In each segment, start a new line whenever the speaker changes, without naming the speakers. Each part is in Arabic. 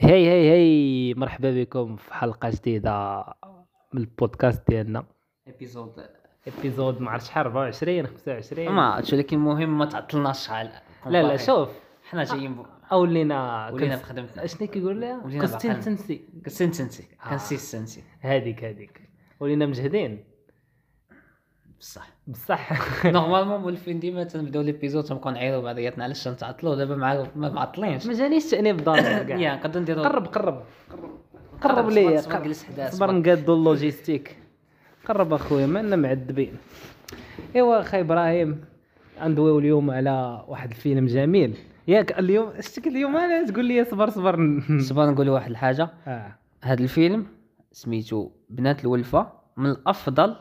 هاي هاي هاي مرحبا بكم في حلقة جديدة من البودكاست ديالنا
ابيزود
ابيزود ما عرفتش شحال 24 25
ما عرفتش ولكن المهم ما تعطلناش شحال
لا لا شوف
حنا جايين ب...
اولينا
ولينا بخدمتنا
شنو كيقول لها
ولينا
كستين
بعقلنا.
تنسي
كنسين تنسي
آه.
كنسي تنسي
هذيك هذيك ولينا مجهدين
بصح
بصح
نورمالمون مولفين ديما تنبداو ليبيزود تنبقاو نعيرو بعضياتنا علاش تنتعطلوا دابا مع ما معطلينش
ما جانيش تأنيب ضار كاع
يا نقدر نديرو
قرب قرب قرب لي
صبر- صبر جلس حدا
صبر
صبر.
نقادو اللوجيستيك قرب اخويا مالنا معذبين ايوا اخي ابراهيم غندويو اليوم على واحد الفيلم جميل ياك اليوم شتك اليوم انا تقول لي صبر صبر ن-
صبر نقول واحد الحاجه
آه.
هذا الفيلم سميتو بنات الولفه من الافضل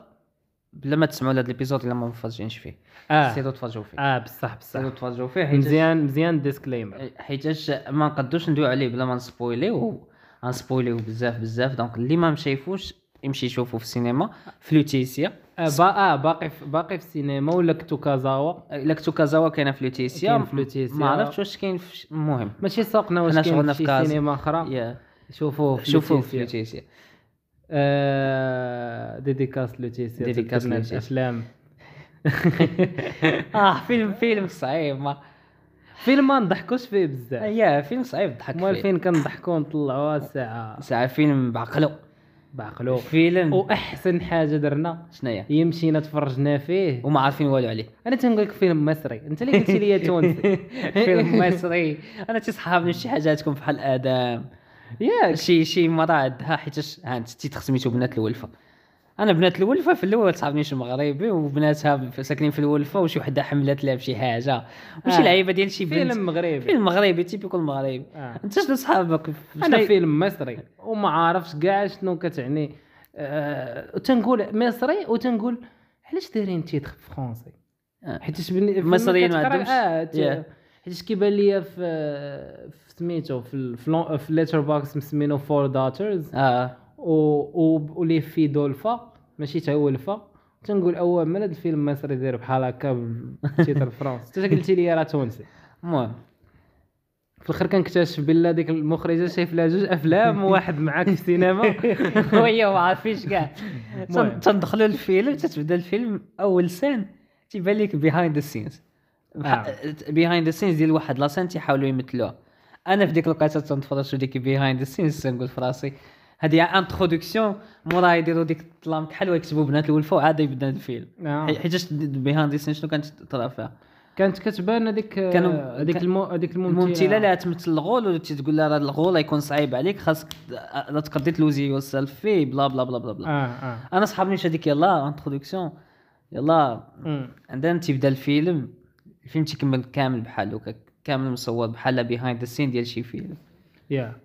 بلا ما تسمعوا هذا الابيزود الا ما مفرجينش فيه
اه
سيرو تفرجوا فيه
اه بصح بصح
سيرو تفرجوا فيه حيت
مزيان مزيان ديسكليمر
حيتاش ما نقدوش ندويو عليه بلا ما نسبويليو غنسبويليو بزاف بزاف دونك اللي ما مشايفوش يمشي يشوفو في السينما في لوتيسيا
آه, با اه باقي في باقي في السينما ولا كتو كازاوا
الا كنتو كازاوا كاينه في لوتيسيا
كاين في لوتيسيا.
ما عرفتش واش كاين في المهم
ماشي سوقنا واش
حنا
كاين
شغلنا
في
في
شي
كازا.
سينما اخرى
يا.
شوفوه في
شوفوه في
لوتيسيا.
لوتيسيا
آه، ديديكاس لوتيسيا
ديديكاس
تذكرنا
لوتيسيا.
الافلام
اه فيلم فيلم صعيب ما
فيلم ما نضحكوش فيه بزاف
يا فيلم صعيب ضحك
امال
فيه
فين كنضحكوا نطلعوها ساعه
ساعة فيلم بعقلو
بعقلو
فيلم
واحسن حاجه درنا
شناهي
يمشينا تفرجنا فيه
وما عارفين والو عليه
انا تنقول لك فيلم مصري انت اللي قلتي لي تونسي
فيلم مصري انا تيصحابني شي حاجاتكم بحال ادم
ياك
شي شي مره عندها حيتاش هانت تيتر سميتو بنات الولفه انا بنات الولفه في الاول صاحبني شي مغربي وبناتها ف- ساكنين في الولفه وشي وحده حملت لها بشي حاجه وشي
آه.
لعيبه ديال شي بنت
فيلم مغربي
فيلم مغربي تيبيكو المغربي
آه.
انت شنو صحابك
انا فيلم مصري وما عارفش كاع شنو كتعني آه، وتنقول مصري وتنقول علاش دايرين تيتر فرونسي حيتاش بن- فيلم
آه. مصريين ما
كتقرا-
عندهمش.
اه ت-
ياه.
حيتاش كيبان ليا في في سميتو في ال- في, لون- في ليتر بوكس مسمينو فور داترز
اه
ولي في دولفا ماشي تا هو الفا تنقول اول من هذا الفيلم مصري داير بحال هكا بالتيتر فرونسي انت قلتي لي راه تونسي
المهم
في الاخر كنكتشف بلا ديك المخرجه شايف لها جوج افلام وواحد معاك في السينما
وهي ما عارفينش كاع
المهم.
تن- تندخلوا للفيلم تتبدا الفيلم اول سين تيبان لك بيهايند ذا سينز
آه.
بيهايند ذا سينز ديال واحد لاسين تيحاولوا يمثلوها انا في ديك الوقيته تنتفرج في ديك بيهايند ذا سينز تنقول في راسي هذه انتروداكسيون موراها يديروا ديك الطلام كحل ويكتبوا بنات الولفه وعاد يبدا الفيلم
آه.
حي- حيتاش بيهايند ذا سينز شنو كانت تطلع فيها
كانت كتبان هذيك
كانوا-
هذيك
كان-
المو... هذيك الممثله
الممثله اللي تمثل الغول ولا تقول لها راه الغول يكون صعيب عليك خاصك لا تقدي تلوزي يور سيلف فيه بلا بلا بلا بلا بلا
اه اه
انا صحابني مشى هذيك يلا انتروداكسيون يلا
مم.
عندنا تيبدا الفيلم الفيلم تيكمل كامل بحال هكا كامل مصور بحال بيهايند ذا سين ديال شي فيلم
يا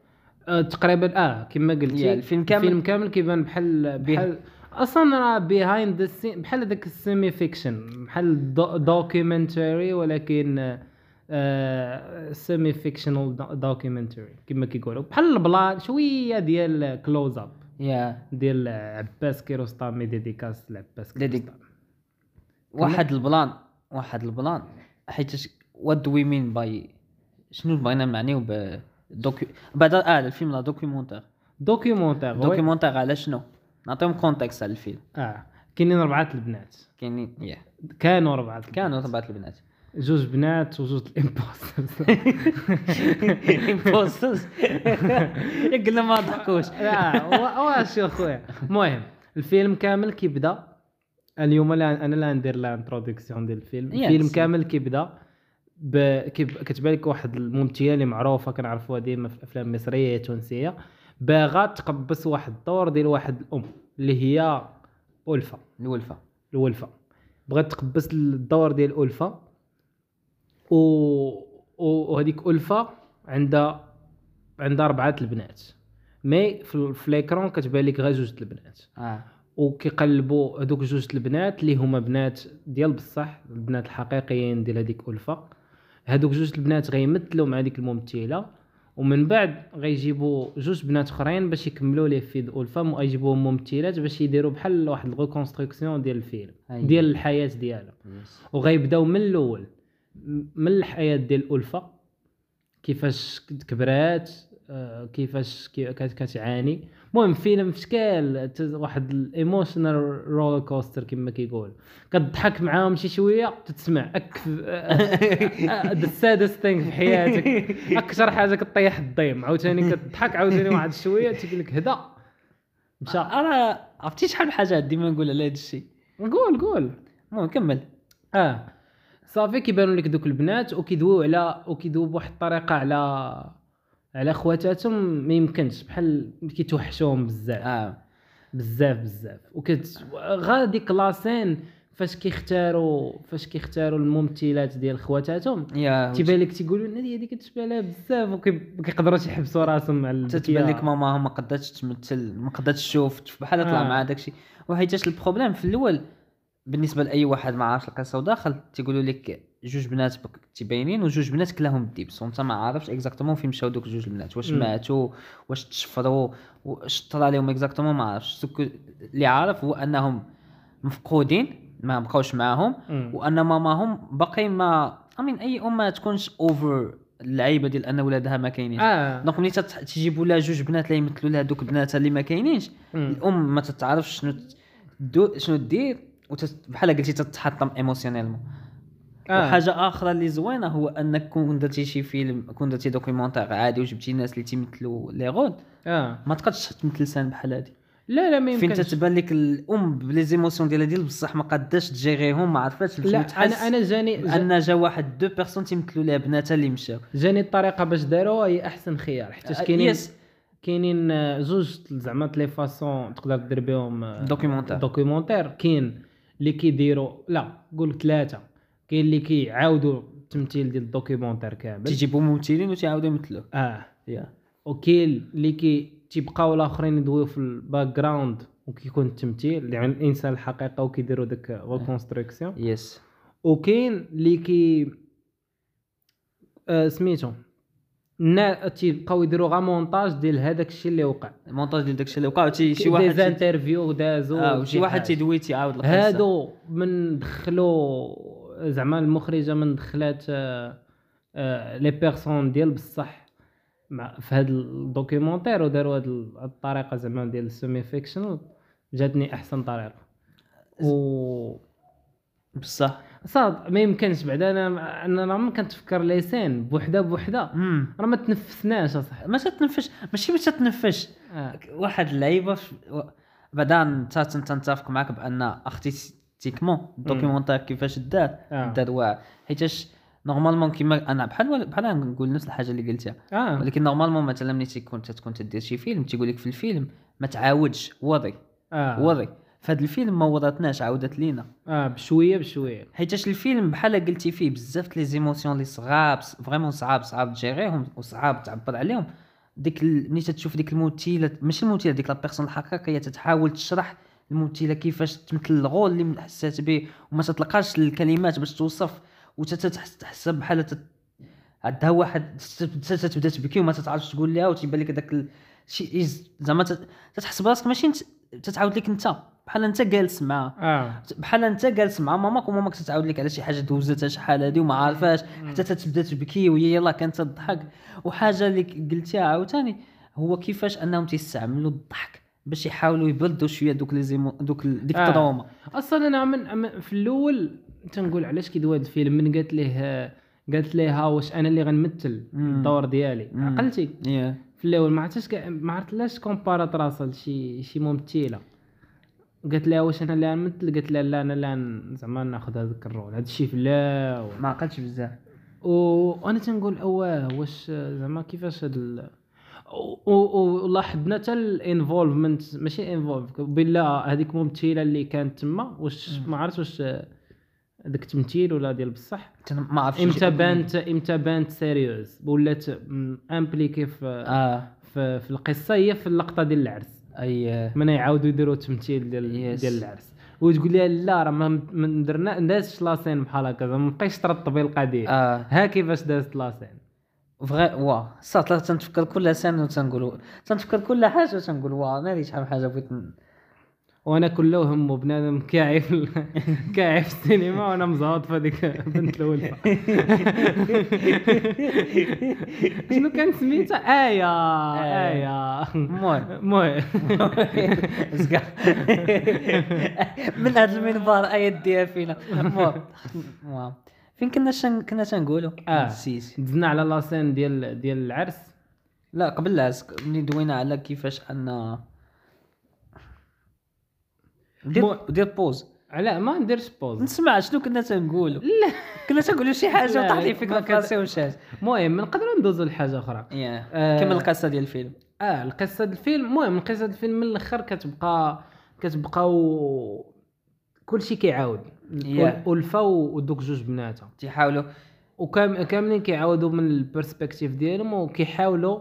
آه، تقريبا اه كما قلتي
يا، الفيلم كامل-
الفيلم كامل كيبان بحال
بيه-
بحال اصلا راه بيهايند ذا سين بحال هذاك السيمي فيكشن بحال دوكيومنتري ولكن آه، سيمي فيكشنال دوكيومنتري كما كيقولوا بحال البلان شويه ديال كلوز اب
يا
ديال عباس كيروستامي ديديكاس لعباس
ديدي-
كيروستامي
واحد البلان واحد البلان حيت وات دو وي مين باي شنو بغينا نعنيو ب دوكي بعد اه الفيلم لا دوكيومونتير
دوكيومونتير وي.
دوكيومونتير على شنو نعطيهم كونتكست على الفيلم
اه كاينين اربعه البنات
كاينين يا
كانوا اربعه البنات.
كانوا طبعا البنات
جوج بنات وجوج الامبوسترز
امبوسترز قلنا ما ضحكوش
لا وا- واش يا خويا المهم الفيلم كامل كيبدا اليوم لا انا لا ندير لا انتروداكسيون ديال الفيلم
يا
الفيلم
تسلم.
كامل كيبدا ب... كيب... كتبان لك واحد الممثله اللي معروفه كنعرفوها ديما في الافلام المصريه تونسيه باغا تقبس واحد الدور ديال واحد الام اللي هي الفا
الولفه
الولفه بغات تقبس الدور ديال الفا و و- وهذيك الفا عندها عندها اربعه البنات مي في في ليكرون كتبان لك غير جوج البنات
اه
وكيقلبوا هذوك جوج البنات اللي هما بنات ديال بصح البنات الحقيقيين ديال هذيك الفا هذوك جوج البنات غيمثلوا مع ديك الممثله ومن بعد غيجيبوا جوج بنات اخرين باش يكملوا ليه في الفا ويجيبوهم ممثلات باش يديروا بحال واحد الريكونستركسيون ديال الفيلم
أيوة.
ديال الحياه ديالها وغيبداو من الاول م- من الحياه ديال الالفه كيفاش كبرات آه، كيفاش كي- كت- كتعاني المهم فيلم في شكال ت- واحد الايموشنال رولر كوستر كما كيقول كتضحك معاهم شي شويه تتسمع آه، اكف ذا سادست ثينك في حياتك اكثر حاجه كطيح الضيم عاوتاني كتضحك عاوتاني واحد شويه تيقول لك هدا مشى
انا عرفتي شحال من حاجات ديما نقول على هذا الشيء
قول قول
المهم كمل
اه صافي كيبانوا لك دوك البنات وكيدويو على وكيدويو بواحد الطريقه على على خواتاتهم ما يمكنش بحال كيتوحشوهم بزاف
اه
بزاف بزاف وكت غادي كلاسين فاش كيختاروا فاش كيختاروا الممثلات ديال خواتاتهم
يا
تيبان لك تيقولوا لنا هذه كتشبه لها بزاف وكي- وكيقدروا تيحبسوا راسهم على
تتبان لك ماما ما قدرتش تمثل ما قدرتش تشوف بحال طلع
آه.
مع داك الشيء وحيتاش البروبليم في الاول بالنسبه لاي واحد ما عارفش القصه وداخل تيقولوا لك جوج بنات بك- تيباينين وجوج بنات كلاهم الدبس وانت ما عارفش اكزاكتومون فين مشاو دوك جوج البنات واش
مم.
ماتوا واش تشفروا واش طرا عليهم اكزاكتومون ما عارفش دوك اللي عارف هو انهم مفقودين ما بقاوش معاهم
مم.
وان ماماهم باقي ما امين اي ام ما تكونش اوفر اللعيبه ديال ان ولادها ما كاينينش
اه
دونك ملي تت- تجيبوا لها جوج بنات اللي يمثلوا لها دوك بناتها اللي ما كاينينش
مم.
الام ما تتعرفش شنو ت- دو شنو دير وتت- بحال قلتي تتحطم ايموسيونيلمون
آه.
وحاجه اخرى اللي زوينه هو انك كون درتي شي فيلم كون درتي دوكيومونتير عادي وجبتي الناس اللي تيمثلوا لي رول
اه
ما تقدش تمثل لسان بحال هادي
لا لا ما
فين
يمكنش
تتبان لك الام بلي زيموسيون ديالها ديال بصح ما قداش تجيغيهم ما عرفتش
لا انا انا جاني جا-
ان جا واحد دو بيرسون تيمثلوا لها بناتها اللي مشاو
جاني الطريقه باش داروها هي احسن خيار حيت
آه،
كاينين
يس.
كاينين آه، زوج زعما لي فاسون تقدر دير بهم آه،
دوكيومونتير.
دوكيومونتير كاين اللي كيديروا لا قول ثلاثه كاين اللي كيعاودوا التمثيل ديال الدوكيومونتير كامل
تيجيبوا ممثلين وتيعاودوا يمثلوه
اه
يا
وكاين اللي كي تيبقاو الاخرين يدويو في الباك جراوند وكيكون التمثيل يعني الانسان الحقيقه وكيديروا ديك ريكونستركسيون
يس
وكاين اللي كي آه سميتو نا تيبقاو يديروا غا مونتاج ديال هذاك الشيء اللي وقع
المونتاج ديال داكشي اللي وقع وتي- شي
دي
واحد
زانترفيو دازو
اه وشي واحد
حاجة.
تيدوي تيعاود القصه
هادو من دخلوا زعما المخرجه من دخلات آه، آه، لي بيرسون ديال بصح مع في هاد الدوكيومونتير وداروا هاد ال- الطريقه زعما ديال السيمي فيكشنال جاتني احسن طريقه و
بصح
صاد ما يمكنش بعدا انا انا راه ما كنتفكر لي سين بوحده بوحده
مم.
راه ما تنفسناش اصاحبي
ما تتنفش ماشي ما تتنفش
آه.
واحد اللعيبه في- و- بعدا انت تنتفق معك بان اختي تيكمون الدوكيومونتير كيفاش دار
آه.
دار واعر حيتاش نورمالمون كيما انا بحال بحال نقول نفس الحاجه اللي قلتها
اه
ولكن نورمالمون مثلا ملي تيكون تتكون تدير شي فيلم تيقول لك في الفيلم ما تعاودش وضي
اه,
وضي فهاد الفيلم ما وضتناش عاودت لينا
آه. بشويه بشويه
حيتاش الفيلم بحال قلتي فيه بزاف لي زيموسيون اللي صعاب فريمون صعاب صعاب تجيريهم وصعاب تعبر عليهم ديك ال- ملي تتشوف ديك الممثله ماشي الممثله ديك لا بيرسون الحقيقيه تتحاول تشرح الممثله كيفاش تمثل الغول اللي حسات به وما تتلقاش الكلمات باش توصف وتتحسها بحال تت- عندها واحد تت- تتبدا تبكي وما تتعرفش تقول لها وتيبان لك داك ال- شي إز- زعما تت- تتحس براسك ماشي انت تتعاود لك انت بحال انت جالس معاها
اه
بحال انت جالس مع ماماك وماماك تتعاود لك على شي حاجه دوزتها شحال هادي وما عارفاش حتى تتبدا تبكي وهي يلا كانت تضحك وحاجه اللي ك- قلتيها عاوتاني هو كيفاش انهم تيستعملوا الضحك باش يحاولوا يبردوا شويه دوك لي زيمو دوك ال- ديك
آه.
التروما
اصلا انا من من- في الاول تنقول علاش كيدوي هذا الفيلم من قالت ليه قالت ليها واش انا اللي غنمثل
مم.
الدور ديالي
مم.
عقلتي
يا
في الاول ما عرفتش كا- ما عرفتلاش كومبارات راسها لشي شي ممثله قالت لها واش انا اللي غنمثل قالت لها لا انا اللي غن- زعما ناخذ هذاك الرول هذا الشيء في الاول
ما عقلتش بزاف
و- وانا تنقول اواه واش زعما كيفاش هاد ال... و- و- ولاحظنا حتى الانفولفمنت ماشي انفولف بلا هذيك الممثله اللي كانت تما واش ما عرفتش واش داك التمثيل ولا ديال بصح
تن- ما عرفتش
امتى بانت امتى بانت سيريوز ولات امبليكي في
اه
في في القصه هي في اللقطه ديال العرس
اي
من يعاودوا يديروا تمثيل ديال
Yes.
ديال العرس وتقول لها لا راه ما ما درنا دازش لاسين بحال هكا زعما ما بقيتش ترطبي القضيه
اه
ها كيفاش دازت لاسين
فغي وا صات لا تنفكر كل سنه وتنقولوا تنفكر كل حاجه وتنقول وا انا اللي شحال من حاجه بغيت ن-
وانا كل همه بنادم كاعي في كاعي في السينما وانا مزاط في هذيك بنت الولفه شنو كان سميتها ايه ايه
المهم
المهم
زكا. من هذا المنبر اي يديها فينا المهم المهم. فين كنا شن كنا تنقولوا
آه.
نسيت
دزنا على لاسين ديال ديال العرس
لا قبل العسك ملي دوينا على كيفاش ان
مو-
دير دير بوز
على ما نديرش بوز
نسمع شنو كنا تنقولوا
لا
كنا تنقولوا شي حاجه
لا،
وطاح لي
ما
فكره في
كان-
راسي ومشات
المهم نقدروا ندوزوا لحاجه اخرى
يا
آه.
كمل القصه ديال الفيلم
اه القصه ديال الفيلم المهم القصه ديال الفيلم من الاخر كتبقى كتبقاو كلشي كيعاود
Yeah.
الفا ودوك جوج بناتها
تيحاولوا
وكام كاملين كيعاودوا من البيرسبكتيف ديالهم وكيحاولوا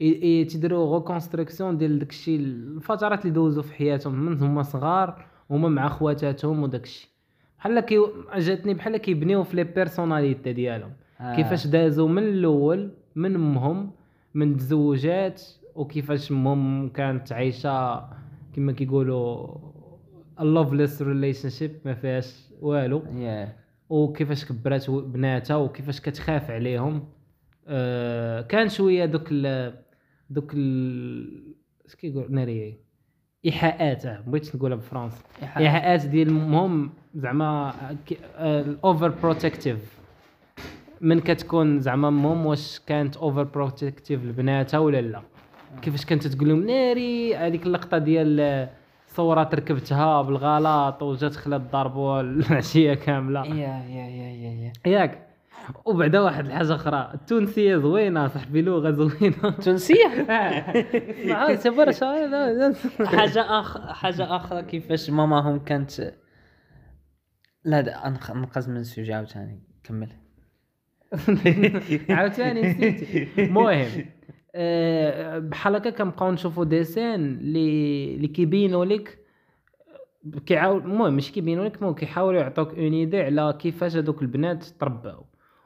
ي- ي- تيديروا ريكونستركسيون ديال داكشي الفترات اللي دوزوا في حياتهم من هما صغار هما مع خواتاتهم وداكشي بحال كي جاتني بحال كيبنيو في لي بيرسوناليتي ديالهم
آه.
كيفاش دازوا من الاول من امهم من تزوجات وكيفاش امهم كانت عايشه كما كيقولوا لوفليس ريليشن شيب ما فيهاش والو
يا
وكيفاش كبرات و- بناتها وكيفاش كتخاف عليهم آه كان شويه دوك ال دوك ال اش كيقول ناري ايحاءات آه، بغيت نقولها بالفرنسا
إيحاءات.
ايحاءات ديال مهم زعما الاوفر بروتكتيف من كتكون زعما مهم واش كانت اوفر بروتكتيف لبناتها ولا لا كيفاش كانت تقول لهم ناري هذيك اللقطه ديال آه، صورات ركبتها بالغلط وجات خلات ضربوها العشيه كامله
يا يا يا يا يا
ياك وبعدا واحد الحاجه اخرى التونسيه زوينه صاحبي لغه زوينه
تونسيه آه.
معاه سبر شاي
حاجه اخ حاجه اخرى كيفاش ماماهم كانت لا دا أنخ- انقذ من السوجي عاوتاني كمل
عاوتاني نسيتي المهم آه، بحال هكا كنبقاو نشوفوا ديسين اللي اللي كيبينوا لك كيعاود المهم مش كيبينوا لك المهم كيحاولوا يعطوك اون ايدي على كيفاش هذوك البنات ترباو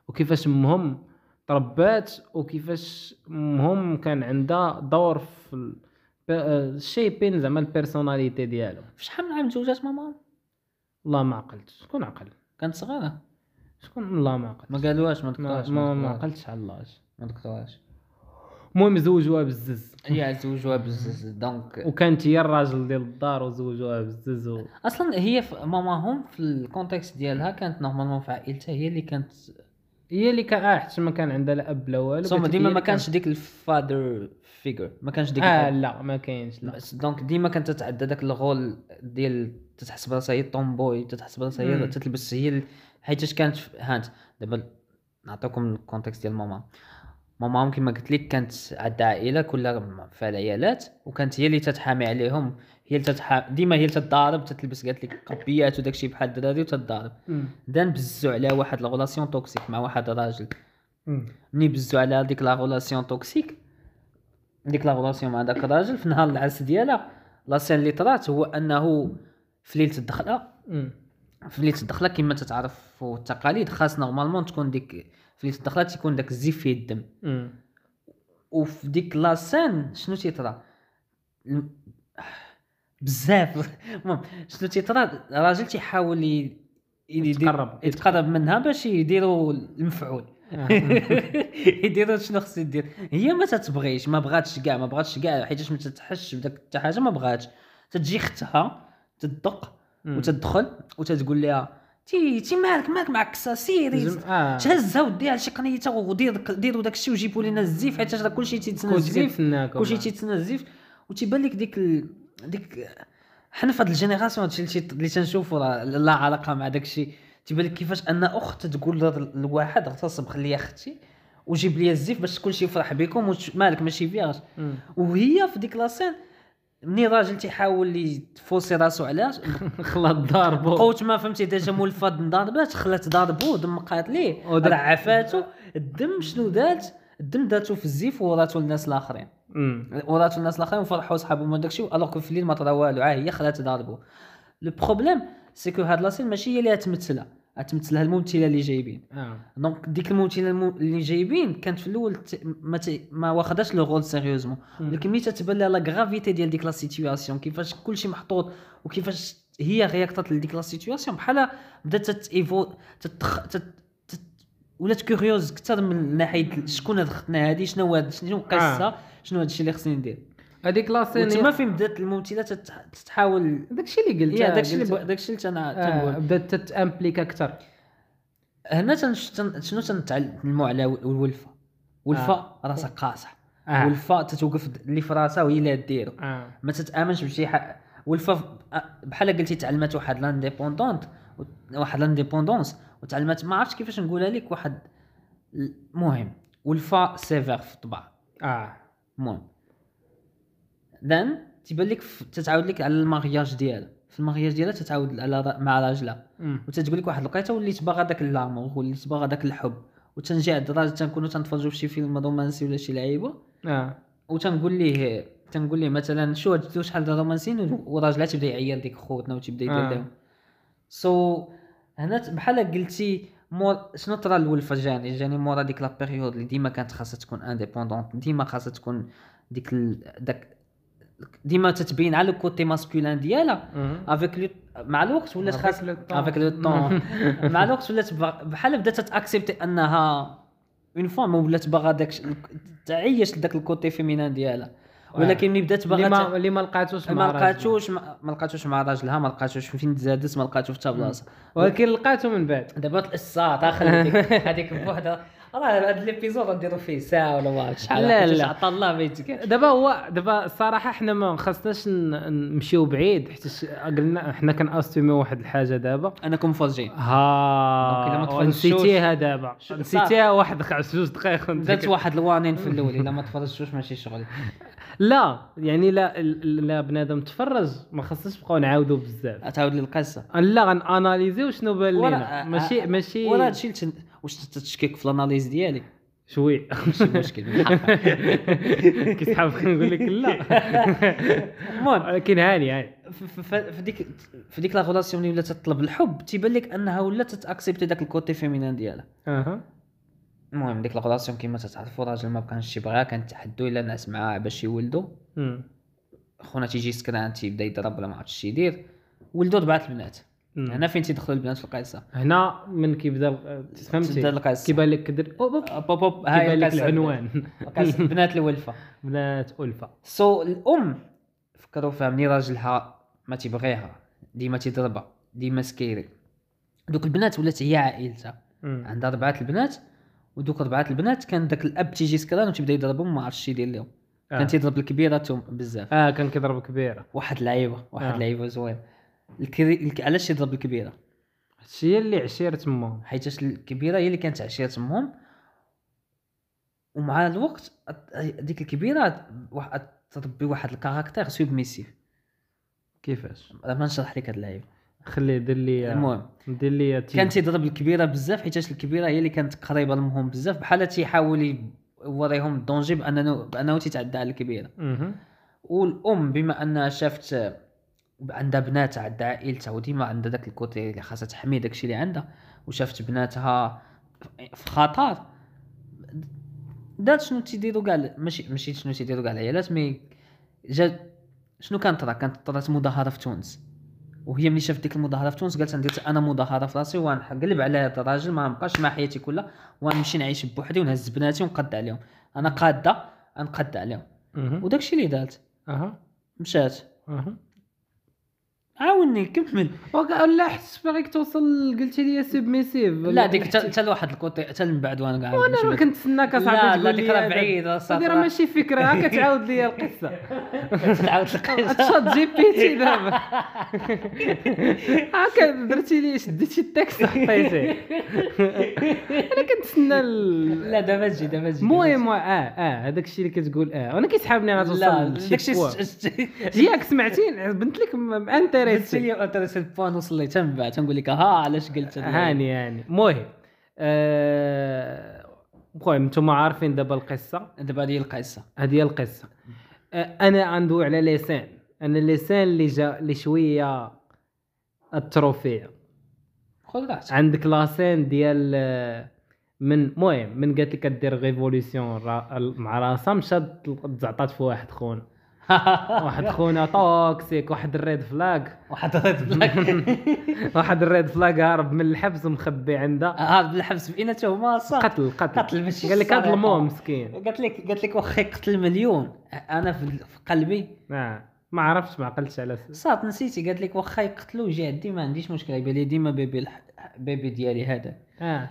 وكيفاش امهم تربات وكيفاش امهم كان عندها دور في الشيبين زعما البيرسوناليتي ديالو
في شحال من عام تزوجات ماما
والله ما عقلت شكون عقل
كانت صغيره
شكون والله ما عقلت
ما قالوهاش ما
ما
ذكروهاش
ما- ما
ذكروهاش،
عقلتش على الله
ما ذكروهاش
المهم زوجوها بزز
هي زوجوها بزز دونك
وكانت هي الراجل ديال الدار وزوجوها بزز و...
اصلا هي في ماماهم في الكونتكست ديالها كانت نورمالمون في عائلتها هي اللي كانت
هي اللي كان آه حتى ما كان عندها لا اب لا والو
صوم
كانت هي
ديما
اللي
ما كانش ديك الفادر فيجر ما كانش ديك
اه لا ما كاينش لا
بس دونك ديما كانت تتعدى داك الغول ديال تتحسب راسها هي الطومبوي تتحسب راسها هي
مم.
تتلبس هي ال- حيتاش كانت في- هانت دابا نعطيكم الكونتكست ديال ماما ماماهم كما قلت لك كانت عندها عائله كلها م- فيها العيالات وكانت هي اللي تتحامي عليهم هي اللي تتحا... ديما هي اللي تتضارب تتلبس قالت لك قبيات وداكشي بحال الدراري وتتضارب
مم.
دا نبزو على واحد لاغولاسيون توكسيك مع واحد راجل
مم.
ملي بزو على ديك لا غولاسيون توكسيك ديك لا غولاسيون مع داك الراجل في نهار العرس ديالها لا سين اللي طرات هو انه في ليله الدخله
مم.
في ليله الدخله كما تتعرفوا التقاليد خاص نورمالمون تكون ديك في ليله الدخله تيكون داك الزيف فيه الدم
مم.
وفي ديك لا سين شنو تيطرا الم- بزاف المهم شنو تيطرا الراجل تيحاول ي- يدير-
يتقرب.
يتقرب منها باش يديروا المفعول
آه.
يدير شنو خصو يدير هي ما تتبغيش ما بغاتش كاع ما بغاتش كاع حيتاش ما تتحش بداك حتى حاجه ما بغاتش تتجي اختها تدق
مم.
وتدخل وتتقول لها تي تي مالك مالك مع الكسا سيري
زم- آه.
تهزها وديها لشي قنيته ودير ديروا داك الشيء وجيبوا لنا الزيف حيتاش راه كلشي تيتسنى الزيف
كوزيف ناكم
كلشي تيتسنى الزيف وتيبان لك ديك ال... ديك حنا في هاد الجينيراسيون هادشي اللي تيت- اللي تنشوفو راه لا علاقه مع داكشي تيبان لك كيفاش ان اخت تقول لهاد الواحد اغتصب خلي اختي وجيب لي الزيف باش كلشي يفرح بكم وش- مالك ماشي فياش
مم.
وهي في ديك لاسين مني الراجل تيحاول يفوسي راسو علاش
خلا ضاربو
قوت ما فهمتي ديجا مول فاد ضاربات خلات ضاربو دمقات ليه
وداك-
رعفاتو الدم شنو دات الدم داتو في الزيف وراتو الناس الاخرين
مم.
وراتو الناس الاخرين وفرحوا صحابهم وداك الشيء الوغ في الليل ما طرا والو عاه هي خلات ضاربو لو بروبليم سي كو هاد لاسين ماشي هي اللي تمثلها تمثلها الممثله اللي جايبين
اه
دونك ديك الممثله الم- اللي جايبين كانت في الاول ت- ما, ت... ما واخداش لو غول سيريوزمون ولكن ملي تتبان لها لا غرافيتي ديال ديك لا سيتوياسيون كيفاش كلشي محطوط وكيفاش هي رياكتات لديك لا سيتوياسيون بحال بدات تتيفو تتخ... تت... تت... ولات كوريوز اكثر من ناحيه شكون هاد ختنا هادي شنو هاد شنو القصه شنو هادشي اللي خصني ندير
هذيك لا
وتما
سين
فين بدات الممثله تت- تتحاول
داكشي اللي قلت آه،
يا داكشي اللي
قلت-
ب- داكشي اللي انا
آه،
تنقول
بدات تتامبليك اكثر
هنا تنش- تن- شنو تنتعلموا على و- الولفه ولفه راسها قاصح
آه.
ولفه تتوقف د- اللي في راسها وهي اللي ديرو
اه
ما تتامنش بشي حاجه ولفه ف- أ- بحال قلتي تعلمت واحد لانديبوندونت و- واحد لانديبوندونس وتعلمت ما عرفتش كيفاش نقولها لك واحد المهم ولفه سيفير في الطبع
اه
المهم ذن تيبان لك ف- تتعاود لك على المارياج ديالها في المارياج ديالها تتعاود على را- مع راجلها
مم.
وتتقول لك واحد الوقيته وليت باغا داك اللامور وليت باغا داك الحب وتنجي عند الراجل تنكونوا تنتفرجوا في شي فيلم رومانسي ولا شي لعيبه
اه
وتنقول ليه تنقول ليه مثلا شو هادو شحال دابا رومانسيين وراجلها تبدا يعير ديك خوتنا وتبدا يدير
آه.
لهم سو هنا ت- بحال قلتي مور شنو طرا الولفه جاني جاني مورا ديك لا بيريود اللي ديما كانت خاصها تكون انديبوندونت ديما خاصها تكون ديك ال... داك ديما تتبين على الكوتي ماسكولين ديالها
مم.
افيك لو مع الوقت ولات
Avec
خاص
le temps.
افيك لو طون مع الوقت ولات بغ- بحال بدات تاكسبتي انها اون فام ولات باغا داك الش- تعيش لذاك الكوتي فيمينان ديالها ولكن ملي بدات
اللي
باغا
ما اللي ما لقاتوش
ما لقاتوش ما ما لقاتوش مع راجلها ما لقاتوش فين تزادت ما لقاتو في حتى بلاصه
ولكن لقاتو من بعد
دابا الساعه خليتك هذيك بوحدها راه هذا الابيزود غنديرو فيه ساعه ولا ما عرفت شحال
لا،
حيت
لا.
عطا الله ما يتكلم
دابا هو دابا الصراحه حنا ما خاصناش ن- نمشيو بعيد حيت ش- قلنا حنا كنأستيميو واحد الحاجه دابا
انكم فرجين دونك إلا ما
ها
تفرجتوش-
نسيتيها دابا
شو-
نسيتيها واحد دق- جوج دقائق
بدات واحد الوانين في الاول الا ما تفرجتوش ماشي شغلي
لا يعني لا ال- لا بنادم تفرج ما خصناش نبقاو نعاودو بزاف
تعاود لي القصه
لا غناناليزيو شنو بان
ولا-
لينا
آه،
ماشي ماشي
وراه هادشي اللي تن- واش تتشكك في الاناليز ديالي
شوي
ماشي مشكل بالحق.
كي صحابك نقول لك لا
المهم
ولكن هاني هاني
ف- ف- ف- في ديك في ديك لا غولاسيون اللي ولات تطلب الحب تيبان لك انها ولات تاكسبتي داك الكوتي فيمينان ديالها
اها
المهم ديك لا غولاسيون كما تتعرفوا راجل ما كانش يبغاها كان تحدو الا نعس معاه باش يولدو
أمم.
خونا تيجي سكران تيبدا يضرب ولا ما عرفتش شي يدير ولدو ربعه البنات
أمم.
هنا فين تيدخلوا البنات في القصه
هنا من كيبدا
تبدا
فهمتي
القصه
كيبان لك كدير أوب أوب،
أه، بوب بوب هاي
كيبان لك
القصة.
العنوان
القصة. بنات الولفه
بنات الفا
سو الام فكروا فيها ملي راجلها ما تيبغيها ديما تيضربها ديما سكيري دوك البنات ولات هي عائلتها
أمم.
عندها ربعه البنات ودوك ربعه البنات كان داك الاب تيجي سكران وتيبدا يضربهم ما عرفتش شي يدير لهم
آه.
كان تيضرب الكبيره توم بزاف
اه كان كيضرب كبيره
واحد لعيبه واحد
آه.
لعيبه زوين الكري... الك... علاش يضرب الكبيره
هادشي هي اللي عشيرة تما
حيتاش الكبيره هي اللي كانت عشيره امهم ومع الوقت أت- ديك الكبيره واحد تربي واحد الكاركتير سوبميسيف
كيفاش
راه ما نشرح لك هاد اللعيبه
خليه دير لي
المهم
دير لي تي-
كان تيضرب الكبيره بزاف حيتاش الكبيره هي اللي كانت قريبه لهم بزاف بحال تيحاول يوريهم الدونجي بانه بانه تيتعدى على الكبيره
أمم.
والام بما انها شافت آه، عندها بناتها عندها عائلتها وديما عندها داك الكوتي اللي خاصها تحمي داكشي اللي عندها وشافت بناتها في خطر دات شنو تيديروا كاع ماشي ماشي شنو تيديروا كاع العيالات مي جا شنو كانت طرا كانت طرات مظاهره في تونس وهي ملي شافت ديك المظاهره في تونس قالت ندير انا مظاهره في راسي وغنقلب على هذا الراجل ما نبقاش مع حياتي كلها وغنمشي نعيش بوحدي ونهز بناتي ونقد عليهم انا قاده غنقد عليهم
أمم.
وداكشي اللي دارت
اها
مشات
اها
عاوني كمل
وك- لا حس باغيك توصل قلتي لي سبميسيف
لا ديك حتى حتى لواحد الكوتي حتى من بعد وانا كاع
وانا ما كنتسناك اصاحبي
لا لا
تقول
ديك
لي
راه
هذا.
بعيده
هذه
صافي
راه ماشي فكره هاكا تعاود لي القصه
تعاود القصه
تشات جي بي تي دابا هاكا درتي لي شديتي التاكس حطيتيه انا كنتسنى ال-
لا دابا تجي دابا تجي
المهم اه اه هذاك الشيء اللي كتقول اه وانا كيسحابني غتوصل
لا
لشي
داكشي
point. ياك سمعتي بنت لك
قلت
انتريستي
لي انتريس البوان وصل لي تم بعد تنقول لك ها علاش قلت هاد الهاي.
هاني هاني المهم e, آه، المهم نتوما عارفين دابا القصه
دابا هذه هي القصه
هذه هي القصه أه، انا غندوي على لسان انا اللسان اللي جا اللي شويه التروفيه
قول راحتك
عندك لاسين ديال آه، من المهم من قالت لك كدير ريفوليسيون را- ال- مع راسها مشات تزعطات في واحد خون واحد خونا توكسيك واحد الريد فلاج
واحد ريد بلاك
واحد الريد فلاج هارب من الحبس ومخبي عندها
هذا بالحبس بإنا تهمه صح
قتل قتل
قتل ماشي
قال لك هذا
السرقة.
المهم مسكين
قالت لك قالت لك واخا يقتل مليون انا في في قلبي
آه. ما عرفتش ما عقلتش على س-
صات نسيتي قالت لك واخا يقتلوا جادي ما عنديش مشكله يبان لي ديما بيبي الح... بيبي ديالي هذا
اه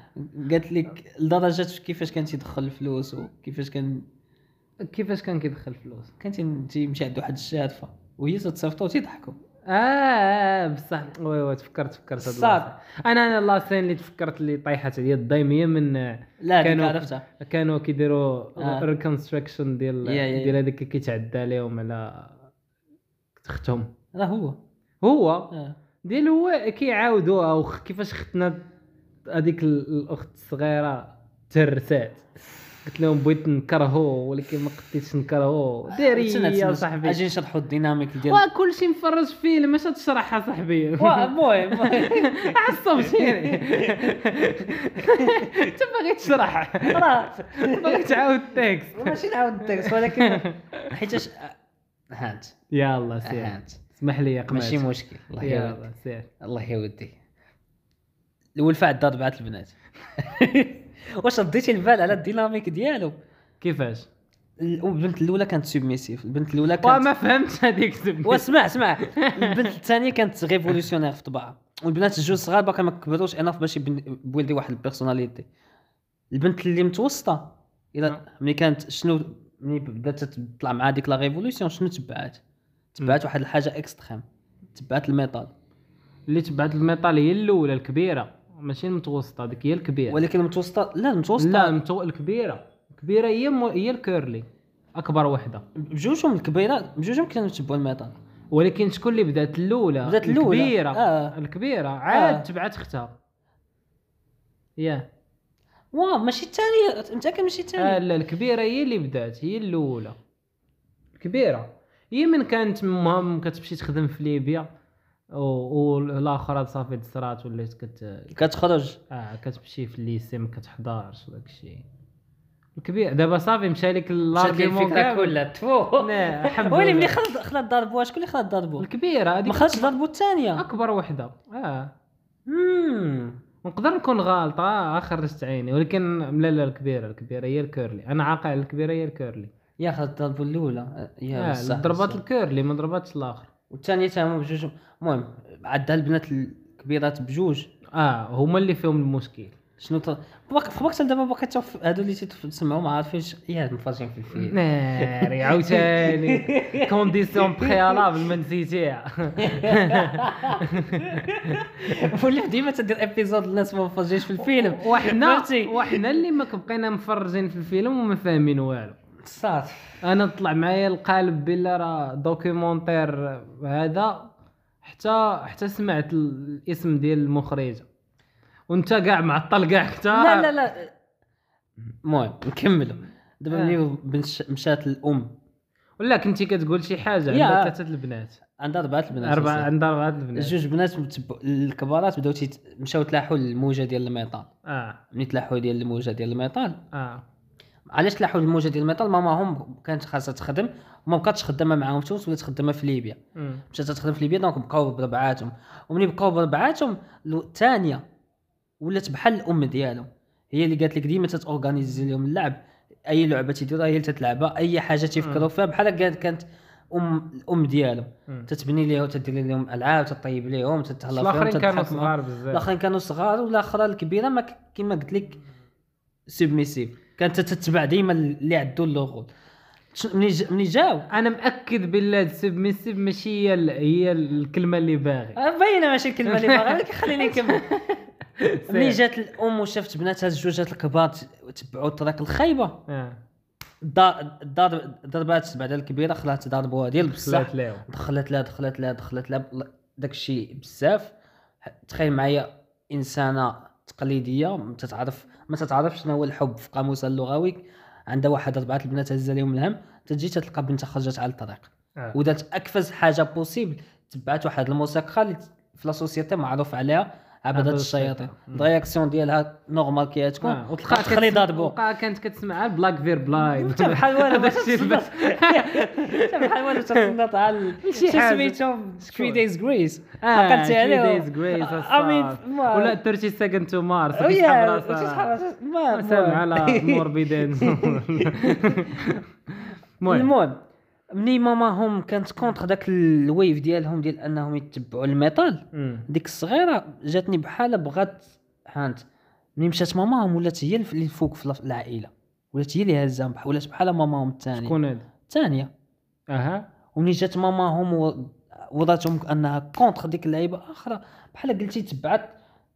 قالت لك لدرجه كيفاش كان تيدخل الفلوس وكيفاش كان
كيفاش كان كيدخل فلوس
كان تي- تيمشي عند واحد الشادفه وهي تتصيفطو وتيضحكوا
آه، اه آه، بصح وي وي تفكرت تفكرت هاد
صار.
اللاسين. انا انا اللاسين اللي تفكرت اللي طيحت عليا الضيم هي من آه،
لا ديك
كانوا-
عرفتها
كانوا كيديروا
آه.
ريكونستراكشن ديال
يا- يا-
ديال هذيك اللي كيتعدى عليهم على اختهم
راه هو
هو
آه.
ديال هو كيعاودوها وخ- كيفاش ختنا هذيك ال- الاخت الصغيره ترسات قلت لهم بغيت نكرهو ولكن ما قديتش نكرهو ديري
استنى،
يا
استنى،
صاحبي
آه. اجي نشرحوا الديناميك ديال
وكل شيء مفرج فيه لما تشرحها صاحبي
وا- المهم
عصبتيني انت باغي تشرح
راه
باغي تعاود التكست
ماشي نعاود التكست ولكن حيتاش آه، هانت آه،
يلا سير
هانت
اسمح لي يا
ماشي
قماش
مشكل الله يهديك
يلا سير
الله يودي الولفة عندها اربعة البنات واش رديتي البال على الديناميك ديالو
كيفاش
البنت الاولى كانت سبميسيف البنت الاولى
وما
كانت
فهمتش هذيك زبدة.
واسمع اسمع البنت الثانيه كانت ريفولوسيونير في طبعها والبنات الجوج صغار باقي ما كبروش اناف باش يبن- بولدي واحد البيرسوناليتي البنت اللي متوسطه
نعم.
الى ملي كانت شنو ملي بدات تطلع مع ديك لا ريفولوسيون شنو تبعات تبعات واحد الحاجه اكستريم تبعات الميتال
اللي تبعت الميطال هي الاولى الكبيره ماشي المتوسطه هذيك هي الكبيره
ولكن المتوسطه لا المتوسطه
لا المتو... الكبيره الكبيره هي م... هي الكيرلي اكبر وحده
بجوجهم الكبيره بجوجهم كانوا يتبعوا الميطال
ولكن شكون اللي بدات الاولى
بدات الأولى.
الكبيره
آه.
الكبيره عاد
آه.
تبعت اختها ياه
واه ماشي الثانيه متاكد ماشي
آه
الثانيه
لا الكبيره هي اللي بدات هي الاولى الكبيره هي من كانت مهم كتمشي تخدم في ليبيا و- والاخرى هاد صافي تصرات ولات كت
كتخرج
اه كتمشي في الليسي ما كتحضرش وداك الشيء الكبير دابا صافي مشى لك الارجيومون كامل.
تفو
لا، الحمد
ولي ملي
لله.
خلط خلط ضربوها شكون اللي خلط ضربو
الكبيره
ما
هذيك
خلطش ضربو الثانيه
اكبر وحده اه
مم.
نقدر نكون غالطه آه خرجت عيني ولكن لا لا الكبيره الكبيره هي الكيرلي انا عاقل على الكبيره هي الكيرلي
يا خلط ضربو الاولى يا
اه
بصح،
ضربات
بصح.
الكيرلي ما ضرباتش الاخر
والثانيه تا هما بجوج المهم عندها البنات الكبيرات بجوج
اه هما اللي فيهم المشكل
شنو ت... باك- في وقت دابا باقي تف- هادو اللي تسمعوا ما عارفينش يا مفرجين في الفيلم
إيه. ناري عاوتاني كونديسيون بريالابل ما نسيتيها
ولا ديما تدير ابيزود الناس ما مفرجينش في الفيلم
وحنا
فهمتي؟
وحنا اللي ما كبقينا مفرجين في الفيلم وما فاهمين والو
صات
انا طلع معايا القالب بلا راه دوكيومونتير هذا حتى حتى سمعت الاسم ديال المخرجه وانت كاع معطل كاع حتى
لا لا لا المهم نكملوا
آه.
دابا ملي بنش- مشات الام
ولا كنتي كتقول شي حاجه
يا.
عندها ثلاثه البنات
عندها اربعه البنات
اربعه
أصلاً.
عندها اربعه البنات
جوج بنات متب- الكبارات بداو تيت- مشاو تلاحوا الموجه ديال الميطال
اه
ملي تلاحوا ديال الموجه ديال الميطال
اه
علاش تلاحوا الموجه ديال الميطال ماماهم كانت خاصها تخدم وما بقاتش خدامه معاهم في تونس ولات خدامه في ليبيا
مم.
مشات تخدم في ليبيا دونك بقاو بربعاتهم وملي بقاو بربعاتهم لو- الثانيه ولات بحال الام ديالهم هي اللي قالت لك ديما تتورغانيزي لهم اللعب اي لعبه تيديروها هي اللي تتلعبها اي حاجه تيفكروا فيها بحال هكا كانت ام الام ديالهم
مم.
تتبني ليهم تدير لهم العاب تطيب ليهم تتهلا فيهم
الاخرين كانوا
تضحك معاهم.
صغار بزاف
الاخرين كانوا صغار والاخرى الكبيره ما ك- كيما قلت لك سبميسيف كانت تتبع ديما اللي عندو اللغول تش- ملي ج- ملي جاو
انا متاكد بالله سبميسيف ماشي هي ال- هي الكلمه اللي باغي
آه، باينه ماشي الكلمه اللي باغا ولكن خليني نكمل ملي جات الام وشافت بناتها الزوجات الكبار ت- تبعوا الطريق الخايبه
اه
الدار الدار ضربات بعد الكبيره خلاها تضربوها ديال بصح آه.
خلات ليهم
دخلت لها دخلت لها دخلت لها داك الشيء بزاف تخيل معايا انسانه تقليديه ما تتعرف ما تتعرفش شنو هو الحب في قاموسها اللغوي عندها واحد اربعه البنات هزا لهم الهم تجي تلقى بنتها خرجت على الطريق
آه.
ودارت اكفز حاجه بوسيبل تبعت واحد الموسيقى اللي في لا سوسيتي معروف عليها عبدة الشياطين الرياكسيون ديالها نورمال كي تكون
آه،
وتلقى تخلي
كت-
ضاربو
وتلقى كانت كتسمع بلاك فير بلاين
حتى بحال والو ما
داكشي
تتصنت حتى بحال والو تتصنت على شي
شي حاجة.
سميتهم
شكون؟
3 دايز جريس عقلتي
عقلتي
عليه
دايز جريس
آه،
ولا
ولا
30 سكند تو مارس كيسحب
ويا
راسها
تسحب ما
سامع على
المهم.
موربيدين المهم
المهم مني ماما هم كانت كونتر داك الويف ديالهم ديال انهم يتبعوا الميتال
مم.
ديك الصغيره جاتني بحال بغات هانت ملي مشات ماماهم ولات هي اللي فوق في العائله ولات هي اللي هازاهم بحال ولات بحال ماماهم الثانيه
شكون هذا
الثانيه
اها
ومني جات ماماهم و- وضعتهم انها كونتر ديك اللعيبه اخرى بحال قلتي تبعت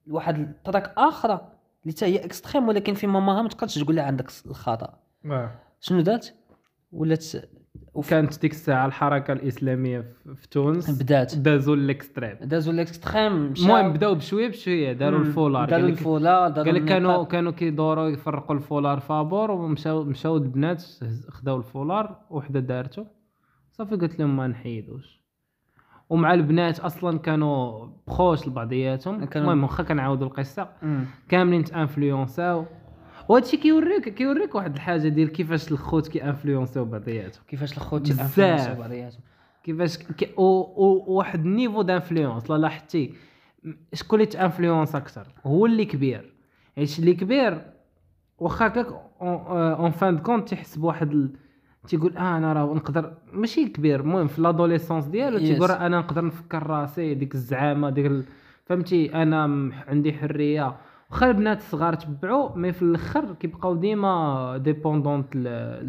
لواحد الطريق اخرى اللي حتى هي اكستريم ولكن في ماماها ما تقدرش تقول لها عندك الخطا
آه.
شنو دارت ولات
وكانت ديك الساعه الحركه الاسلاميه في- في تونس
بدات
دازوا الاكستريم
دازو الاكستريم مشاو-
المهم بداو بشويه بشويه داروا
مم.
الفولار
داروا
قال لك
الفولار داروا
قال لك كانوا
النقاب.
كانوا كيدوروا يفرقوا الفولار فابور ومشاو مشاو البنات هز- خداو الفولار وحده دارته صافي قلت لهم ما نحيدوش ومع البنات اصلا كانوا بخوش لبعضياتهم
كانوا-
المهم واخا كنعاودوا القصه
مم.
كاملين تانفلونساو وهادشي كيوريك كيوريك واحد الحاجه ديال كيفاش الخوت كيانفلونساو بعضياتهم
كيفاش الخوت
بزاف.
انفلونسوا بعضياتهم
كيفاش كي و- و- واحد النيفو دانفلونس لا لاحظتي م- شكون اللي تانفلونس اكثر هو اللي كبير حيت اللي كبير واخا هكاك اون فان دو كونت تحس بواحد ال... تيقول اه انا راه نقدر ماشي كبير المهم في لادوليسونس ديالو
Yes.
تيقول راه انا نقدر نفكر راسي ديك الزعامه ديك ال... فهمتي انا م- عندي حريه واخا البنات الصغار تبعوا مي في الاخر كيبقاو ديما ديبوندونت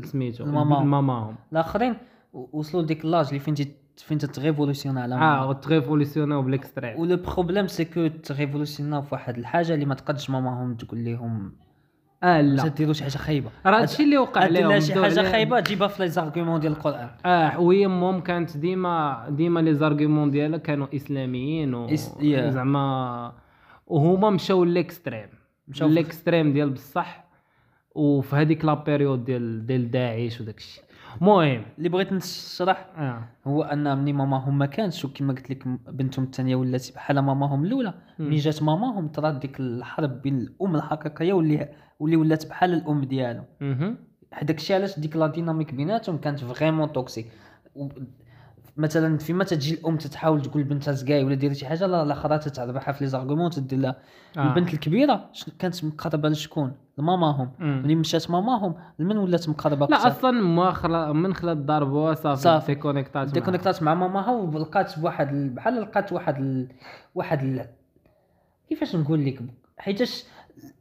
لسميتو
الماما.
ماماهم
الاخرين و- وصلوا لديك لاج اللي فين تي- فين تتريفولوسيون على
اه وتريفوليسيوناو بالاكستريم
ولو بروبليم سي كو تريفولوسيوناو في واحد الحاجه اللي ما تقدش ماماهم تقول لهم
اه
لا
لا
ديروا شي حاجه خايبه
راه هادشي اللي وقع
قال لها
لهم
شي
دور
حاجه
لهم.
خايبه جيبها في لي زارغيومون ديال القران
اه وهي مهم كانت ديما ديما لي زارغيمون ديالها كانوا اسلاميين و
إس- يا.
زعما وهما مشاو ليكستريم
مشاو
مشاو
في-
ليكستريم ديال بصح وفي هذيك لا بيريود ديال ديال داعش وداك الشيء المهم
اللي بغيت نشرح
اه
هو ان مني ماماهم ما كانش وكما قلت لك بنتهم الثانيه ولات بحال ماماهم الاولى
مم.
ملي جات ماماهم طرات ديك الحرب بين الام الحقيقيه واللي واللي ولات بحال الام ديالهم
مهم.
هذاك الشيء علاش ديك لا ديناميك بيناتهم كانت فريمون توكسيك و- مثلا فيما تجي الام تتحاول تقول لبنتها زكاي ولا دير شي حاجه لا الاخرى تتعربها في لي زارغومون تدير لها
آه.
البنت الكبيره شن- كانت مقربه لشكون لماماهم
مم.
ملي مشات ماماهم لمن ولات مقربه
لا
أكثر؟
اصلا ما خلا من خلال الضرب صافي
صافي.
صافي كونيكتات
ديكونيكتات مع ماماها ولقات بواحد ال- بحال لقات واحد ال... واحد ال... كيفاش نقول لك حيتاش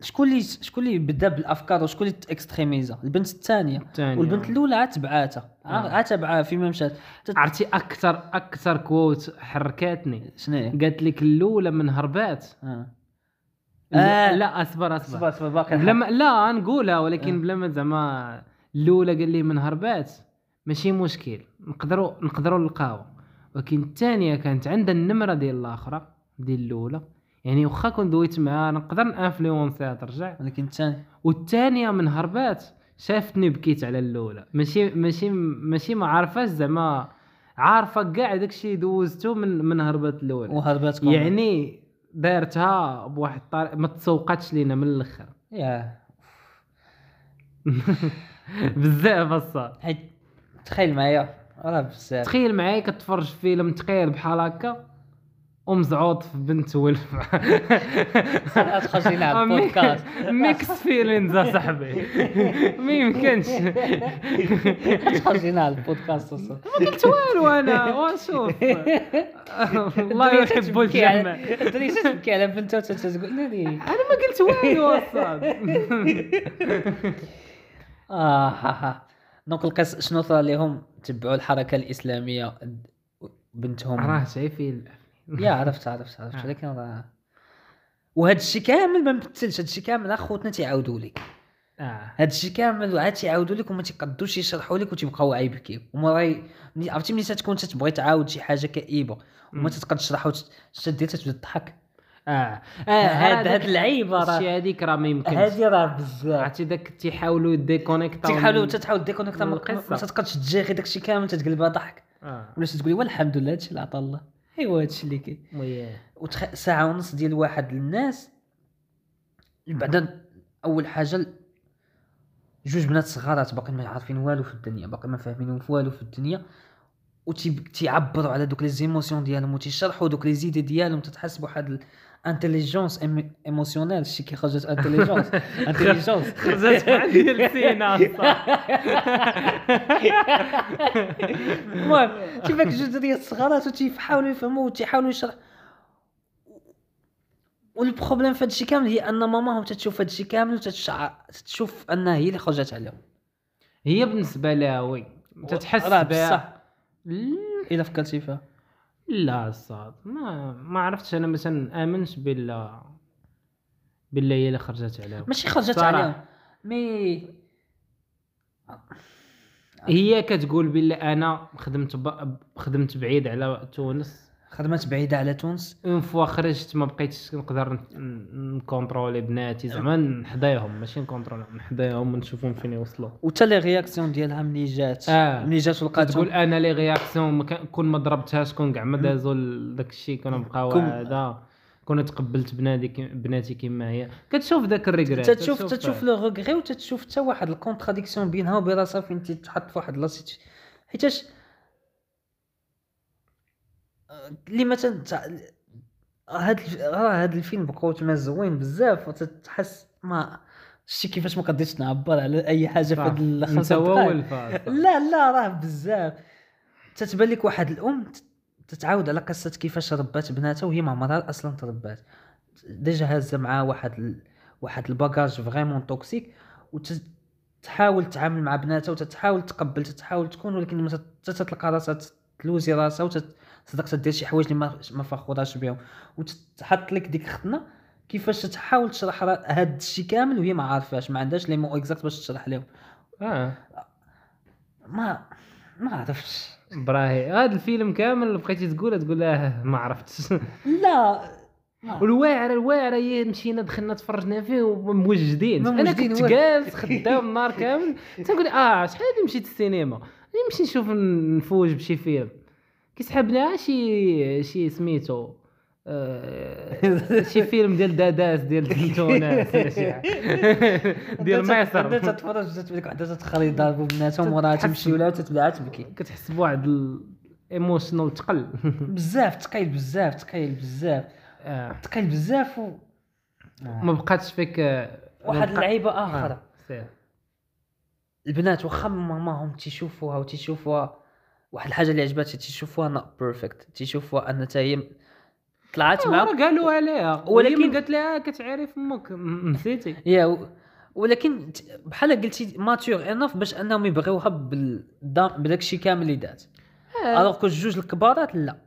شكون اللي شكون اللي بدا بالافكار وشكون اللي اكستريميزا البنت الثانيه
الثانيه
والبنت الاولى عاد تبعاتها عاد عاد
آه.
تبعها فيما مشات تت-
عرفتي اكثر اكثر كوت حركاتني
شنو هي؟
قالت لك الاولى من هربات
آه.
لا-
آه.
لا اصبر
صبا
اصبر
صبا باقي
بلا
لما
ما لا نقولها
آه.
ولكن بلا ما زعما الاولى قال لي من هربات ماشي مشكل نقدروا نقدروا نلقاو ولكن الثانيه كانت عندها النمره ديال الاخرى ديال الاولى يعني واخا كنت دويت معاها نقدر نانفلونسيها ترجع
ولكن الثاني
والثانيه من هربات شافتني بكيت على الاولى ماشي ماشي ماشي ما عارفاش زعما عارفه كاع داكشي دوزتو من من هربات الاولى
وهربات كومون.
يعني دارتها بواحد الطريق ما تسوقتش لينا من الاخر
يا
بزاف الصاد
حيت تخيل معايا راه بزاف
تخيل معايا كتفرج في فيلم ثقيل بحال هكا ومزعوط في بنت ولف
صراحة تخرج لينا على البودكاست.
ميكس فيلينز اصاحبي ما يمكنش
خرجنا على البودكاست وصل
ما قلت والو انا واشوف الله يحب الجمع
الدريسه تبكي على بنتها تقول ناري
انا ما قلت والو اصاحبي
اه ها ها دونك القص شنو طرا لهم تبعوا الحركه الاسلاميه بنتهم
راه شايفين الأفلام.
يا عرفت عرفت عرفت
آه.
ولكن راه وهذا الشيء كامل ما مثلش هذا الشيء كامل راه خوتنا تيعاودوا لك
اه
هذا الشيء كامل عاد تيعاودوا لك وما تيقدوش يشرحوا لك وتيبقاو عيبكيو هما راه ملي- عرفتي ملي تتكون تتبغي تعاود شي حاجه كئيبه وما
مم.
تتقدش تشرحها وتت- تدير تتبدا تضحك
اه اه
آه، هاد هاد اللعيبه راه
الشيء هذيك راه ما يمكنش
هذه راه بزاف
عرفتي داك تيحاولوا ديكونيكتاو
تحاولوا تحاول ديكونيكتا من
من
القصه
القصة.
ما تقدرش تجي غير داكشي كامل تتقلبها ضحك
آه.
ولا تقولي والحمد لله هادشي اللي عطا الله ايوا هادشي اللي كاين
وي
وتخ... ساعه ونص ديال واحد للناس بعدا اول حاجه ال- جوج بنات صغارات باقي ما عارفين والو في الدنيا باقي ما فاهمين والو في الدنيا وتيعبروا على دوك لي زيموسيون ديالهم وتيشرحوا دوك لي زيدي ديالهم تتحس بواحد الانتيليجونس إيم- ايموسيونيل شي كي خرجت انتيليجونس انتيليجونس
خرجت مع ديال سينا صح
المهم تيبان جوج ديال الصغارات وتيحاولوا يفهموا وتيحاولوا يشرح والبروبليم في هادشي كامل هي ان ماماهم تتشوف هادشي كامل وتتشعر تتشوف انها هي اللي خرجت عليهم
هي بالنسبه لها وي تتحس
راه
بها
بصح الا فكرتي فيها
لا الصاد ما ما عرفتش انا مثلا امنش بال بالله هي اللي خرجت عليهم
ماشي خرجت
صراحة.
عليهم مي
هي كتقول بالله انا خدمت ب... خدمت بعيد على تونس
خدمات بعيده على تونس
اون فوا خرجت ما بقيتش نقدر ن- ن- نكونترولي بناتي
نعم.
زعما نحدايهم ماشي نكونترولهم نحدايهم ونشوفهم فين يوصلوا
وتا لي رياكسيون ديالها ملي جات
آه.
ملي جات
تقول
ولقاتهم
انا لي رياكسيون ما كان- كون ما ضربتهاش كون كاع ما دازوا ل- داك الشيء كنا بقاو
كون-
هذا كون تقبلت بنادي كي- بناتي كما هي كتشوف ذاك الريغريت
تتشوف تتشوف لو غوغري وتتشوف حتى واحد الكونتراديكسيون بينها وبين راسها فين تتحط في واحد لاصيت حيتاش آه، اللي مثلا تع- هاد الف- راه هاد الفيلم بقوت ما زوين بزاف وتتحس ما شتي كيفاش ما قدرتش نعبر على اي حاجه في هاد
انت
الخمسه
هو
دقائق
الفاس
لا لا راه بزاف تتبان لك واحد الام ت- تتعاود على قصه كيفاش ربات بناتها وهي ما عمرها اصلا تربات ديجا هازه معاها واحد ال... واحد الباكاج فريمون توكسيك وتحاول تعامل مع بناتها وتتحاول تقبل تتحاول تكون ولكن ما تت- تتلقى راسها تلوزي راسها وتصدق تدير شي حوايج اللي ما ما فخوراش بهم وتحط لك ديك خطنا كيفاش تحاول تشرح را- هاد الشي كامل وهي ما عارفاش ما عندهاش لي مو اكزاكت باش تشرح لهم
اه
ما ما عرفتش
براهي هذا الفيلم كامل بقيتي تقول تقول اه ما عرفتش
لا
والواعره الواعره آه. هي مشينا دخلنا تفرجنا فيه وموجدين
ما
انا
موجدين،
كنت
واه.
جالس خدام النهار كامل تنقول اه شحال اللي مشيت السينما اللي نمشي نشوف نفوج بشي فيلم كيسحبنا شي شي سميتو آه، شي فيلم ديال داداس ديال تونس ولا شي حاجة. ديال
بدات
مصر
تتفرج بدات لك واحد تتخري ضاربوا بناتهم وراها
تتحسن.
تمشي ولا تتبلع تبكي
كتحس بواحد الايموشنال تقل
بزاف تقيل بزاف تقيل بزاف
آه،
تقيل بزاف و...
ما بقاتش فيك آه، ما
واحد
بقى-
اللعيبه
آه،
اخرى
سير.
البنات واخا ماماهم تيشوفوها وتيشوفوها واحد الحاجه اللي عجباتها تيشوفوها نوت بيرفكت تيشوفوها ان تا هي طلعت
ما
مع
قالوا عليها
آه. ولكن-
ولكن قالت لها كتعرف امك م- نسيتي
يا و- ولكن ت- بحال قلتي ماتور انف باش انهم يبغيوها بالدام بداك الشيء كامل اللي دات الوغ كو الجوج الكبارات لا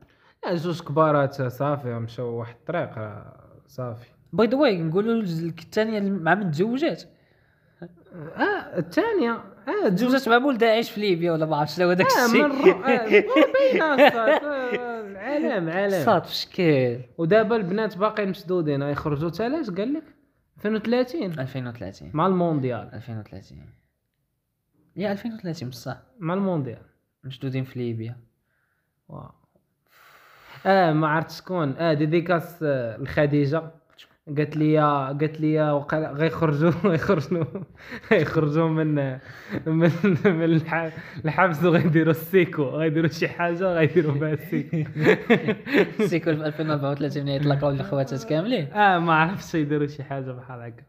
لا، زوج كبارات آه، صافي مشاو واحد الطريق راه صافي
باي ذا واي نقولوا الثانيه مع من تزوجات
اه الثانيه اه تزوج
تزوجات مع ولد عايش في ليبيا ولا ما عرف شنو هو داك
اه من
الشيء
الر- آه، باينه الصاد، آه، العالم عالم
صاد في شكل
ودابا البنات باقيين مشدودين غيخرجوا تلاش قال لك 2030
2030
مع المونديال
2030 يا 2030 بصح
مع المونديال
مشدودين في ليبيا
واو. اه ما عرفت شكون اه ديديكاس آه، لخديجه قالت لي قالت لي وقال غيخرجوا غيخرجوا غيخرجوا من من من الح- الحبس وغيديروا السيكو غيديروا شي حاجه غيديروا بها السيكو
السيكول في 2034 ملي يطلقوا الخواتات كاملين
اه ما عرفتش يديروا شي حاجه بحال هكا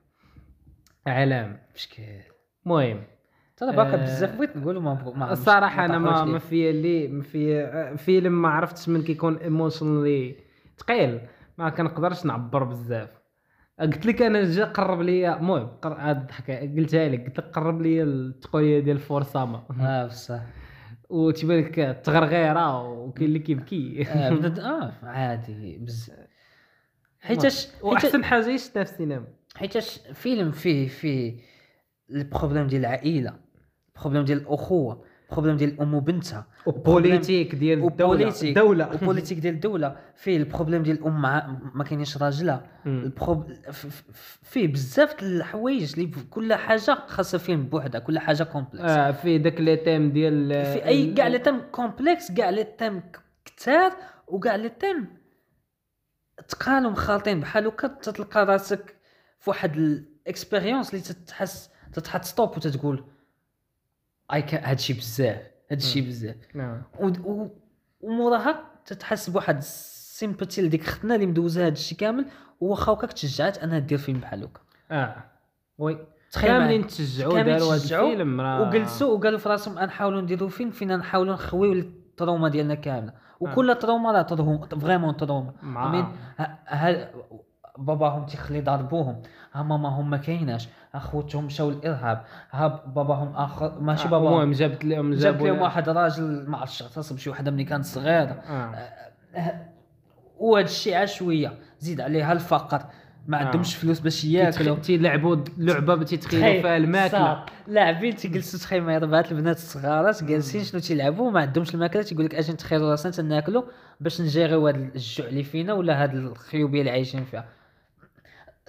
علام
في شكل
المهم
ترى باقي
آه،
بزاف بغيت نقولوا ما بغ- ما
الصراحه انا ما
طرحوش
ما
ليه.
في اللي ما في آه، فيلم ما عرفتش من كيكون ايموشنلي ثقيل ما كنقدرش نعبر بزاف قلت لك انا جا قرب لي المهم قر- هاد الضحكه قلتها لك قلت لك قرب لي التقنيه ديال فورساما
اه بصح
وتبان لك التغرغيره وكاين اللي كيبكي
آه، بدد- اه عادي بزاف حيتاش حيتاش-
واحسن حاجه شفتها في السينما
حيتاش فيلم فيه فيه البروبليم ديال العائله البروبليم ديال الاخوه البروبليم ديال الام وبنتها
وبوليتيك ديال الدوله
وبوليتيك
الدوله
والبوليتيك ديال الدوله فيه البروبليم ديال الام مع ما كاينينش راجلها
مم.
البروب... ف- ف- فيه بزاف د الحوايج اللي ب- كل حاجه خاصها فيلم بوحدها كل حاجه كومبلكس
آه في داك لي تيم ديال
في اي كاع لي تم كومبلكس كاع لي تم كثار وكاع لي تيم تقالوا مخالطين بحال هكا تتلقى راسك في واحد الاكسبيريونس اللي تتحس تتحط ستوب وتتقول اي كان هادشي بزاف هادشي
مم.
بزاف
نعم
ود- و- وموراها تتحس بواحد السيمباتي لديك ختنا اللي مدوزه هادشي كامل وواخا هكاك تشجعت انها دير فيلم بحال هكا
اه وي
تخيل معايا.
كاملين تشجعوا
كاملين
داروا هذا
تشجعوا
الفيلم راه
وجلسوا وقالوا في راسهم نحاولوا نديروا فيلم فينا نحاولوا نخويو التروما ديالنا كامله
آه.
وكل تروما راه تروما فريمون تروما
مع
أمين. ها- ها باباهم تيخلي ضربوهم ها ماماهم ما كايناش ها خوتهم مشاو للارهاب ها باهم اخر ماشي
آه،
باباهم
المهم جابت لهم
جاب
جابوا
لهم
لها-
واحد راجل ما عرفتش اغتصب شي وحده ملي كانت صغيره
آه.
وهذا الشيء عشويه زيد عليها الفقر ما
آه.
عندهمش فلوس باش ياكلوا
تيتخ- تيلعبوا لعبه تيتخيلوا فيها الماكله
لاعبين تيجلسوا تخيل معايا ربعات البنات الصغارات جالسين شنو تيلعبوا وما عندهمش الماكله تيقول لك اجي نتخيروا راسنا تناكلوا باش نجيريو هذا الجوع اللي فينا ولا هذه الخيوبيه اللي عايشين فيها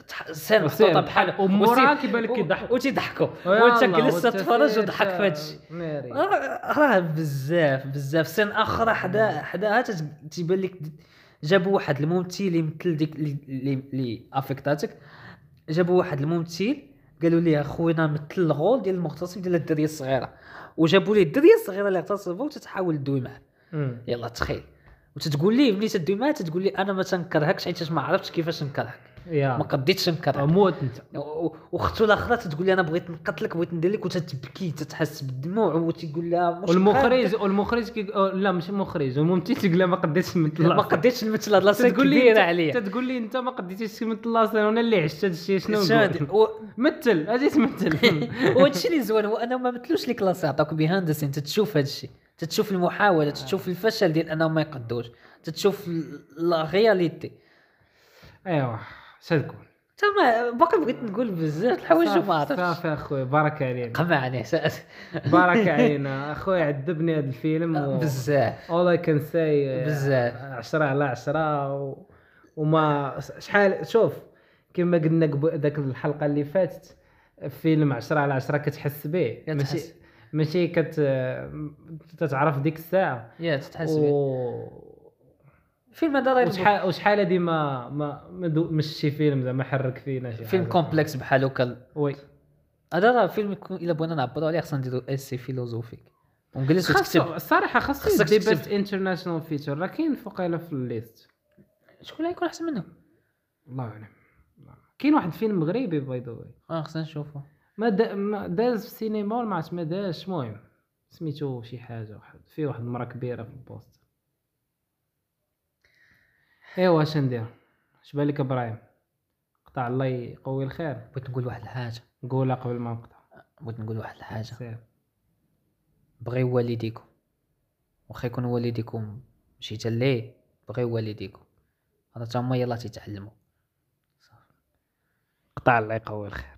تح- سير
وسير
محطوطه بحال
ومورا
وسير-
كيبان لك
و-
كيضحك.
وتيضحكوا وانت
ويلا،
جلست تتفرج
وتسير
وضحك في آه. هادشي
ناري.
راه راه بزاف بزاف سين اخرى حدا حداها تت- تيبان لك جابوا واحد الممثل اللي مثل ديك اللي- اللي اللي افكتاتك جابوا واحد الممثل قالوا ليه خوينا مثل الغول ديال المغتصب ديال الدريه الصغيره وجابوا ليه الدريه الصغيره اللي اغتصبها وتتحاول دوي معاه
مم.
يلا تخيل وتتقول ليه ملي تدوي معاه تتقول لي انا ما تنكرهكش حيت ما عرفتش كيفاش نكرهك ما
يا آه،
قديتش نكرهك
موت انت
و- و- واختو الاخرى تتقول لي انا بغيت نقتلك بغيت ندير لك وتتبكي تتحس بالدموع وتقول لها مش
والمخرج والمخرج كي... أو لا مش المخرج الممثل تقول لا ما قديتش مثل
ما
الأصل.
قديتش المثل هاد لاسين
تتقول لي
كبيره
أنت-
عليا
تتقول لي انت ما قديتيش مثل اللاصين وانا اللي عشت هذا الشيء شنو
شاد-
نقول؟
و-
مثل اجي تمثل
وهادشي اللي زوين هو انه ما مثلوش لي كلاس يعطوك بيهاند ذا سين تتشوف هادشي تتشوف
آه.
المحاوله تتشوف الفشل ديال انهم ما يقدوش تتشوف ال- لا رياليتي
ايوا شتكون
تما باقي بغيت نقول بزاف الحوايج وما عرفتش
صافي اخويا بارك علينا
قمعني سأت
بارك علينا اخويا عذبني هذا الفيلم و...
بزاف
اول اي كان ساي
بزاف.
10 على 10 و... وما شحال شوف كما قلنا قبل ذاك الحلقه اللي فاتت فيلم 10 على 10 كتحس به
كتحس.
ماشي ماشي كت تتعرف ديك الساعه
يا تتحس بيه
و...
فيلم هذا راه يضبط.
وشحال وشحال هادي ما ما ما دو- مش شي فيلم زعما حرك فينا شي
فيلم
حاجة.
كومبلكس بحال هكا
وي
هذا راه فيلم يكون الا بغينا نعبروا عليه خصنا نديرو اسي فيلوزوفيك ونجلس
خاصو
وتكتب
الصراحه خاصو
خاصك
دي
تكتب.
بيست انترناشونال فيتشر راه كاين فوقيلا في الليست
شكون اللي يكون احسن منه
الله اعلم كاين واحد فيلم مغربي باي ذا واي
اه خصنا نشوفو
ما دا- ما داز في السينما ولا ما عرفت ما داش المهم سميتو شي حاجه واحد فيه واحد المراه كبيره في البوست ايوا اش ندير اش بالك ابراهيم قطع الله يقوي الخير
بغيت نقول واحد الحاجه
قولها قبل ما نقطع
بغيت نقول واحد الحاجه
سير
بغيو والديكم واخا يكون والديكم مشي حتى ليه بغيو والديكم هذا تا هما يلاه تيتعلموا
قطع الله يقوي الخير